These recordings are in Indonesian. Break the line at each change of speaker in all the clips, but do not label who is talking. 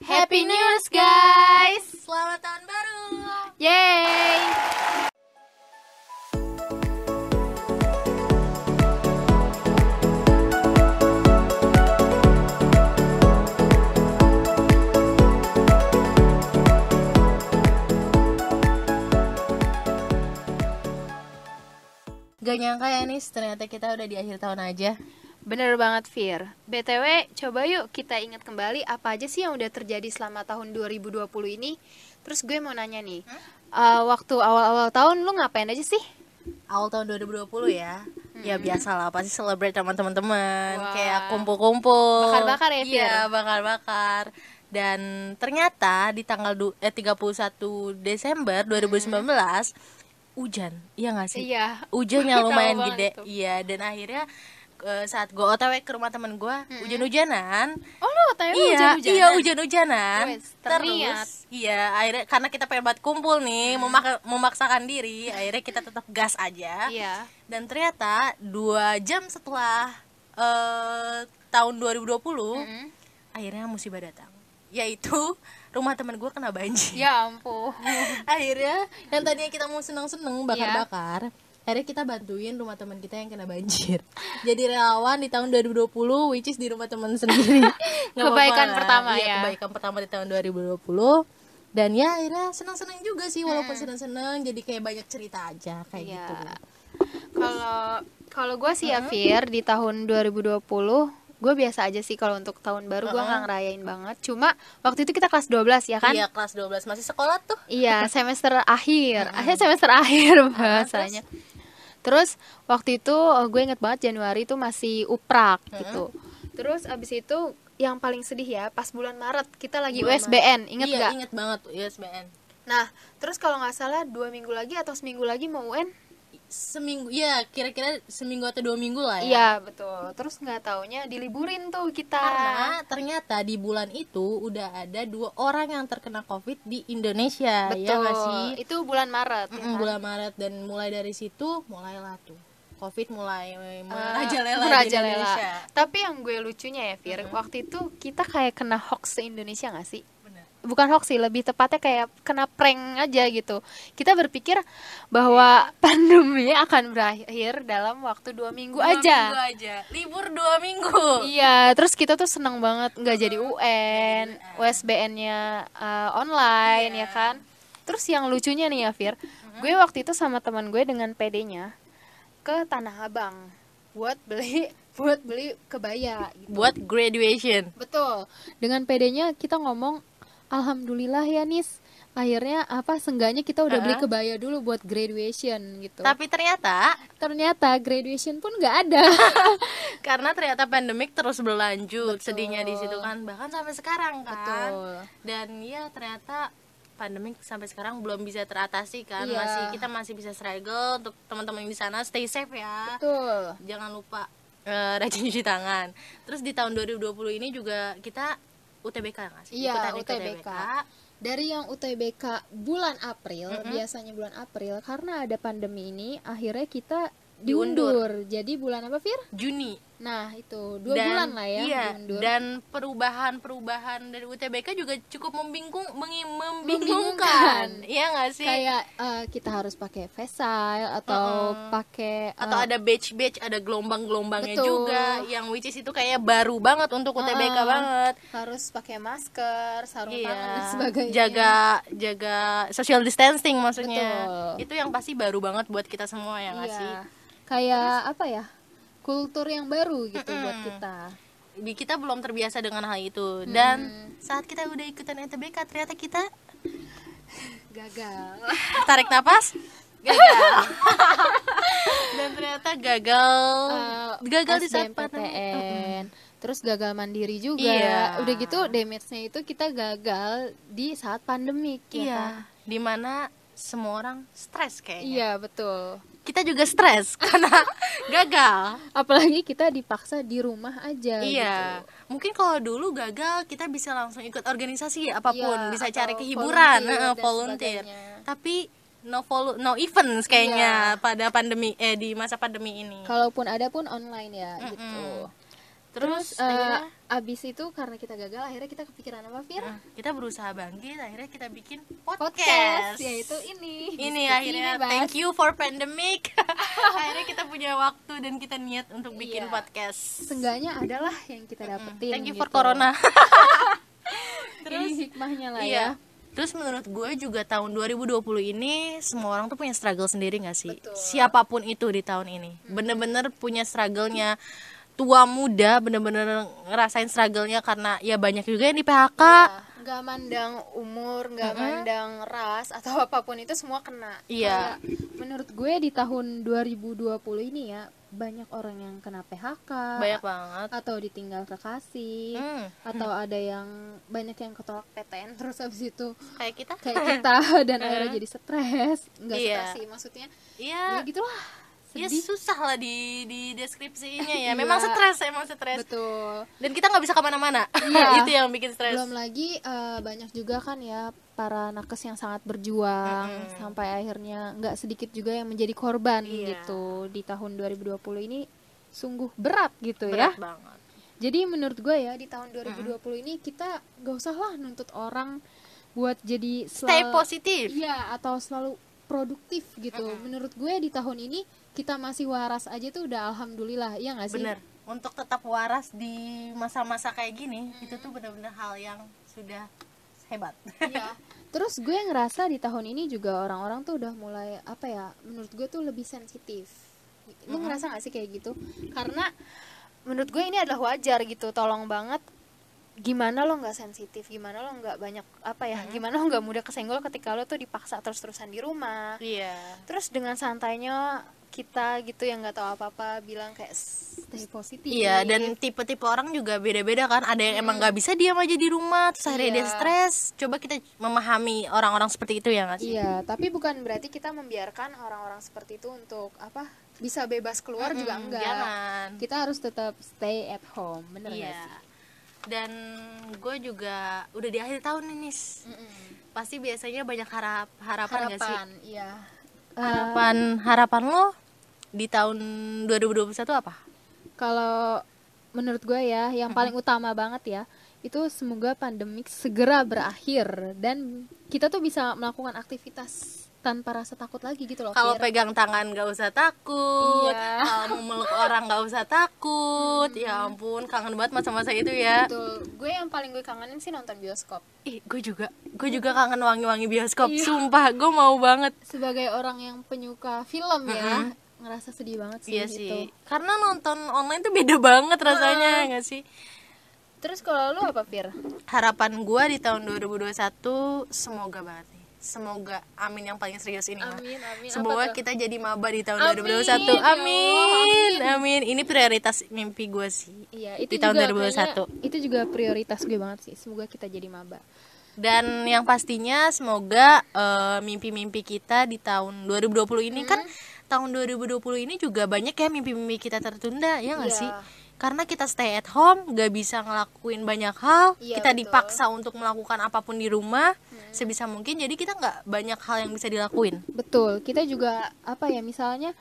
Happy News guys.
Selamat tahun baru.
Yeay. Gak nyangka ya Nis, ternyata kita udah di akhir tahun aja
Bener banget Fir. BTW, coba yuk kita ingat kembali apa aja sih yang udah terjadi selama tahun 2020 ini. Terus gue mau nanya nih, eh, waktu awal-awal tahun lu ngapain aja sih?
Awal tahun 2020 ya. Ya biasalah pasti celebrate sama
Hmm.
teman-teman,
Wah.
kayak kumpul-kumpul.
Bakar-bakar ya, Fir?
Iya, bakar-bakar. Dan ternyata di tanggal du- eh, 31 Desember 2019 hujan. Iya nggak sih?
Hmm. Iya.
Hujannya
Tahu
lumayan
banget
gede.
tuh.
Iya, dan akhirnya eh, saat gue otw ke rumah temen gue
Hmm.
hujan-hujanan
Oh lu tanya
iya,
hujan-hujanan?
iya hujan-hujanan.
Wes, terniat.
Terus, iya, akhirnya karena kita pengen banget kumpul nih,
Hmm.
memak- memaksakan diri, akhirnya kita tetap gas aja.
Iya.
Dan ternyata dua jam setelah eh, tahun 2020,
Hmm.
akhirnya musibah datang, yaitu rumah teman gue kena banjir.
Ya ampun.
akhirnya yang tadinya kita mau
Iya.
seneng-seneng bakar-bakar, akhirnya kita bantuin rumah teman kita yang kena banjir. Jadi relawan di tahun 2020, which is di rumah teman sendiri. Nggak apa-apa
Kebaikan
lah.
pertama
Iya,
ya.
Kebaikan pertama di tahun 2020. Dan ya akhirnya senang-senang juga sih walaupun senang-senang jadi kayak banyak cerita aja kayak
Hmm. Iya.
gitu.
Kalau kalau gue sih ya Fir di tahun 2020 gue biasa aja sih kalau untuk tahun baru gue nggak ngerayain banget. Cuma waktu itu kita kelas 12 ya kan?
Iya kelas 12 masih sekolah tuh.
Iya, semester akhir. Akhir semester akhir bahasanya. Terus waktu itu eh, gue inget banget Januari itu masih uprak gitu. Terus abis itu yang paling sedih ya pas bulan Maret kita lagi USBN, inget
iya,
nggak?
Inget banget tuh ISBN.
Nah, terus kalau nggak salah dua minggu lagi atau seminggu lagi mau UN?
Seminggu ya kira-kira seminggu atau dua minggu lah ya.
Iya betul. Terus nggak taunya diliburin tuh kita.
Karena
Iya.
ternyata di bulan itu udah ada dua orang yang terkena COVID di Indonesia
betul.
ya nggak sih?
Itu bulan Maret. ya
Mm,
kan?
bulan Maret dan mulai dari situ mulailah tuh COVID mulai merajalela di
Eh, Merajalela.
Indonesia.
Tapi yang gue lucunya ya Fir, waktu itu kita kayak kena hoax se Indonesia gak sih?
Bener.
Bukan hoax sih, lebih tepatnya kayak kena prank aja gitu. Kita berpikir
Iya.
bahwa pandemi akan berakhir dalam waktu dua minggu
Dua
aja.
minggu aja. Libur dua minggu.
Iya, terus kita tuh seneng banget nggak jadi UN, USBN-nya uh, online ya kan. Terus yang lucunya nih ya Fir, gue waktu itu sama teman gue dengan PD-nya ke Tanah Abang buat beli buat beli kebaya. gitu.
Buat graduation.
Betul. Dengan PD-nya kita ngomong alhamdulillah ya Nis. Akhirnya apa sengganya kita udah beli kebaya dulu buat graduation gitu.
Tapi ternyata
Ternyata graduation pun nggak ada.
karena ternyata pandemik terus berlanjut sedihnya di situ kan bahkan sampai sekarang kan
Betul.
dan ya ternyata pandemik sampai sekarang belum bisa teratasi kan
Iya.
masih kita masih bisa struggle untuk teman-teman yang di sana stay safe ya
Betul.
jangan lupa eh, rajin cuci tangan terus di tahun 2020 ini juga kita UTBK nggak sih
Iya,
Ikutan
UTBK. Dari yang UTBK bulan April, biasanya bulan April karena ada pandemi ini akhirnya kita diundur. Jadi bulan apa, Fir?
Juni
Nah, itu dua bulan lah ya
iya,
diundur.
dan perubahan-perubahan dari UTBK juga cukup membingkung mengi-
Membingungkan.
membingungkan iya nggak sih
Kayak eh, kita harus pakai facile atau pakai eh,
atau ada batch-batch, ada gelombang-gelombangnya
Betul. Ah,
juga yang which is itu kayaknya baru banget untuk UTBK banget.
harus pakai masker, sarung tangan dan
Iya.
sebagainya.
Jaga jaga social distancing maksudnya.
Betul.
Itu yang pasti baru banget buat kita semua ya nggak
Iya.
sih?
Kayak apa ya? Kultur yang baru gitu buat kita.
Di- Kita belum terbiasa dengan hal itu
Hmm.
dan saat kita udah ikutan UTBK ternyata kita
Gagal.
tarik napas gagal. dan ternyata gagal Oh,
Eh,
gagal di
E.
saat pandemi.
SBMPTN. Terus gagal mandiri juga.
Iya.
Udah gitu damage-nya itu kita gagal di saat pandemik ya
Iya,
kan?
dimana semua orang stres kayaknya.
Iya, betul.
kita juga stres karena gagal.
Apalagi kita dipaksa di rumah aja
Ya,
iya. Mungkin kalau dulu gagal kita bisa langsung ikut organisasi ya,
Iya,
apapun, bisa
atau
cari kehiburan,
volunteer
eh,
dan
volunteer.
sebagainya.
Tapi no volu- no events kayaknya pada pandemi eh di masa pandemi ini.
Kalaupun ada pun online ya gitu.
Terus,
Terus, iya.
eh,
akhirnya-
abis itu karena kita gagal akhirnya kita kepikiran apa Fir?
Nah, kita berusaha bangkit akhirnya kita bikin
Podcast
podcast,
yaitu ini.
ini
Diskusi
ya. akhirnya
bebas.
thank you for pandemic akhirnya kita punya waktu dan kita niat untuk bikin
Iya.
podcast
Seenggaknya adalah yang kita dapetin.
thank you for
gitu.
corona
gitu.
Ini hikmahnya lah
iya
ya.
terus menurut gue juga tahun 2020 ini semua orang tuh punya struggle sendiri gak sih
Betul. Hmm.
siapapun itu di tahun ini bener-bener punya struggle-nya tua muda bener-bener ngerasain struggle-nya karena ya banyak juga yang di PHK
Nggak mandang umur, nggak mandang ras atau apapun itu semua kena. Kayak,
Iya.
menurut gue di tahun 2020 ini ya banyak orang yang kena PHK.
banyak banget
atau ditinggal kekasih
Hmm.
atau ada yang banyak yang ketolak PTN terus abis itu
kayak kita
kayak kita dan akhirnya jadi stres nggak
Mm. Iya.
stres sih maksudnya ya
iya
gitulah
ya
sedih
susah lah di di deskripsinya
Iya.
ya memang stres emang stres
betul
dan kita nggak bisa kemana-mana
Iya.
itu yang bikin stres
belum lagi eh, banyak juga kan ya para nakes yang sangat berjuang sampai akhirnya nggak sedikit juga yang menjadi korban
Iya.
gitu di tahun 2020 ini sungguh berat gitu ya
berat banget
Jadi menurut gue ya di tahun 2020 ini kita gak usah lah nuntut orang buat jadi
stay
selalu-
positif
Iya atau selalu produktif gitu. Menurut gue di tahun ini kita masih waras aja tuh udah alhamdulillah ya nggak sih?
bener untuk tetap waras di masa-masa kayak gini itu tuh bener-bener hal yang sudah hebat
Iya. Terus gue ngerasa di tahun ini juga orang-orang tuh udah mulai apa ya? Menurut gue tuh lebih sensitif. Lu ngerasa gak sih kayak gitu?
karena menurut gue ini adalah wajar gitu tolong banget gimana lo nggak sensitif gimana lo nggak banyak apa ya gimana lo nggak mudah kesenggol ketika lo tuh dipaksa terus-terusan di rumah
iya
terus dengan santainya kita gitu yang nggak tahu apa-apa bilang kayak "S-
Stay positif.
Iya dan tipe-tipe orang juga beda-beda kan ada yang emang nggak bisa diam aja di rumah terus akhirnya dia
Iya.
stres coba kita memahami orang-orang seperti itu ya nggak sih
Iya, tapi bukan berarti kita membiarkan orang-orang seperti itu untuk apa? Bisa bebas keluar juga
Mm,
Iya, enggak.
jangan
Kita harus tetap stay at home, bener nggak
iya
sih?
dan gue juga udah di akhir tahun nih Nis pasti biasanya banyak harap harapan, nggak sih
Harapan, iya.
harapan harapan lo di tahun 2021 apa
Kalau menurut gue ya, yang paling utama banget ya, itu semoga pandemik segera berakhir dan kita tuh bisa melakukan aktivitas tanpa rasa takut lagi gitu loh.
kalau
Fir.
pegang tangan nggak usah takut
Iya. Hmm.
kalau memeluk orang nggak usah takut ya ampun kangen banget masa-masa itu ya
Betul. Gue yang paling gue kangenin sih nonton bioskop.
ih gue juga gue juga kangen wangi-wangi bioskop
Iya.
sumpah gue mau banget
Sebagai orang yang penyuka film ya, ngerasa sedih banget sih
iya
gitu.
sih karena nonton online tuh beda banget rasanya ya nggak sih
Terus kalau lu apa, Fir?
harapan gue di tahun 2021 semoga banget nih semoga amin yang paling serius ini Ma.
Amin, amin. Apa
semoga
tuh?
kita jadi maba di tahun
Amin,
2021
ya Allah,
amin amin ini prioritas mimpi gue sih
Iya,
di
itu
tahun
juga
2021
kayaknya- itu juga prioritas gue banget sih. Semoga kita jadi maba.
dan yang pastinya semoga eh, mimpi-mimpi kita di tahun 2020 ini kan
Hmm.
tahun 2020 ini juga banyak ya mimpi-mimpi kita tertunda ya nggak
Iya.
sih karena kita stay at home nggak bisa ngelakuin banyak hal
Iya, betul.
kita
Hmm.
dipaksa untuk melakukan apapun di rumah sebisa mungkin jadi kita nggak banyak hal yang bisa dilakuin
Betul. Kita juga apa ya misalnya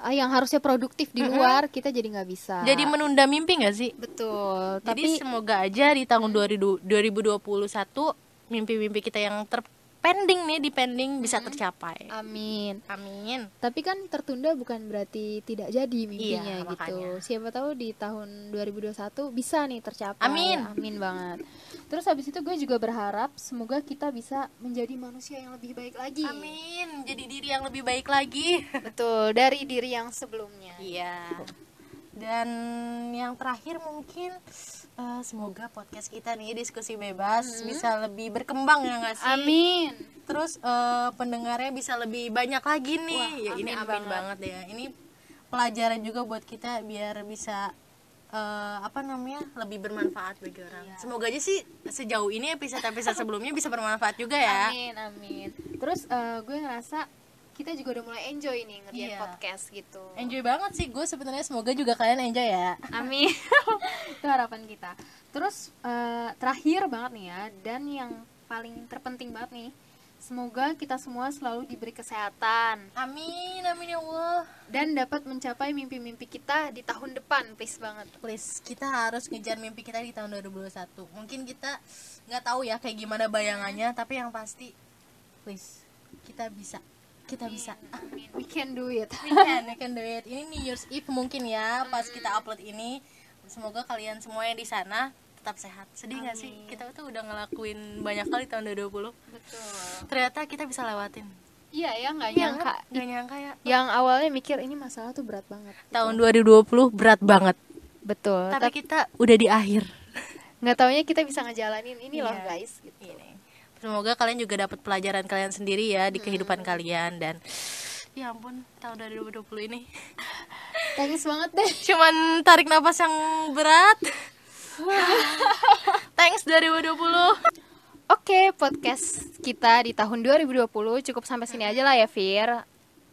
eh, yang harusnya produktif di luar kita jadi nggak bisa.
jadi menunda mimpi nggak sih
betul.
jadi
Iya. Tapi
semoga aja di tahun 2020 2021 mimpi-mimpi kita yang terpending nih di pending bisa
Hmm.
tercapai
amin.
amin
Tapi kan tertunda bukan berarti tidak jadi mimpinya
Iya,
gitu.
makanya.
Siapa tahu di tahun 2021 bisa nih tercapai.
Amin.
Amin banget. Terus habis itu gue juga berharap semoga kita bisa menjadi manusia yang lebih baik lagi.
Amin, jadi diri yang lebih baik lagi.
betul dari diri yang sebelumnya
Iya. Dan yang terakhir mungkin eh, semoga podcast kita nih diskusi bebas bisa lebih berkembang ya nggak sih?
amin
Terus eh, pendengarnya bisa lebih banyak lagi nih. ya ini amin banget. ya. Ini pelajaran juga buat kita biar bisa eh, apa namanya lebih bermanfaat bagi orang. Semoga aja sih sejauh ini episode-episode sebelumnya bisa bermanfaat juga ya.
Amin, amin. Terus eh, gue ngerasa kita juga udah mulai enjoy nih ngerjain
Iya.
podcast gitu.
Eh.
Enjoy banget sih gue sebenarnya semoga juga kalian enjoy ya.
Amin. Itu harapan kita. Terus eh, terakhir banget nih ya dan yang paling terpenting banget nih
Semoga kita semua selalu diberi kesehatan
Amin, amin ya Allah.
dan dapat mencapai mimpi-mimpi kita di tahun depan, please banget.
Please, kita harus ngejar mimpi kita di tahun 2021. Mungkin kita nggak tahu ya kayak gimana bayangannya, tapi yang pasti please kita bisa. Kita bisa. Ah. Iya,
We can do it.
We can, we can do it. Ini New Year's Eve mungkin ya pas kita upload ini. Semoga kalian semuanya di sana tetap sehat. Sedih nggak sih? Kita tuh udah ngelakuin banyak kali tahun 2020.
Betul.
Ternyata kita bisa lewatin.
Iya ya, nggak nyangka.
Gak nyangka ya.
Yang awalnya mikir
Ini masalah tuh berat banget.
Tahun 2020 berat banget.
betul,
Tapi kita udah di akhir.
nggak taunya kita bisa ngejalanin ini loh
Iya.
guys.
Ini. Semoga kalian juga dapat pelajaran kalian sendiri ya di kehidupan kalian dan ya ampun tahun 2020 ini
Thanks banget deh.
cuman tarik napas yang berat. Thanks 2020.
Oke, podcast kita di tahun 2020 cukup sampai sini aja lah ya, Fir.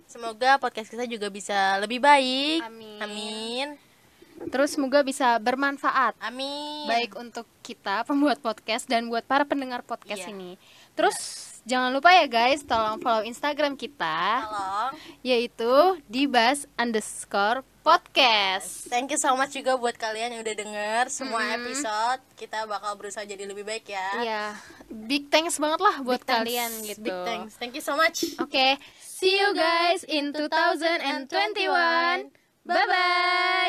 Semoga podcast kita juga bisa lebih baik.
Amin.
Amin.
Terus semoga bisa bermanfaat
Amin.
baik untuk kita pembuat podcast dan buat para pendengar podcast
Iya.
ini. Terus jangan lupa ya guys, tolong follow Instagram kita
Tolong.
yaitu dibas underscore podcast.
Thank you so much juga buat kalian yang udah denger semua episode. Kita bakal berusaha jadi lebih baik ya.
Iya, big thanks banget lah buat
Thanks.
kalian gitu.
Big thanks. Thank you so much.
Oke, see you guys in 2021. Bye bye.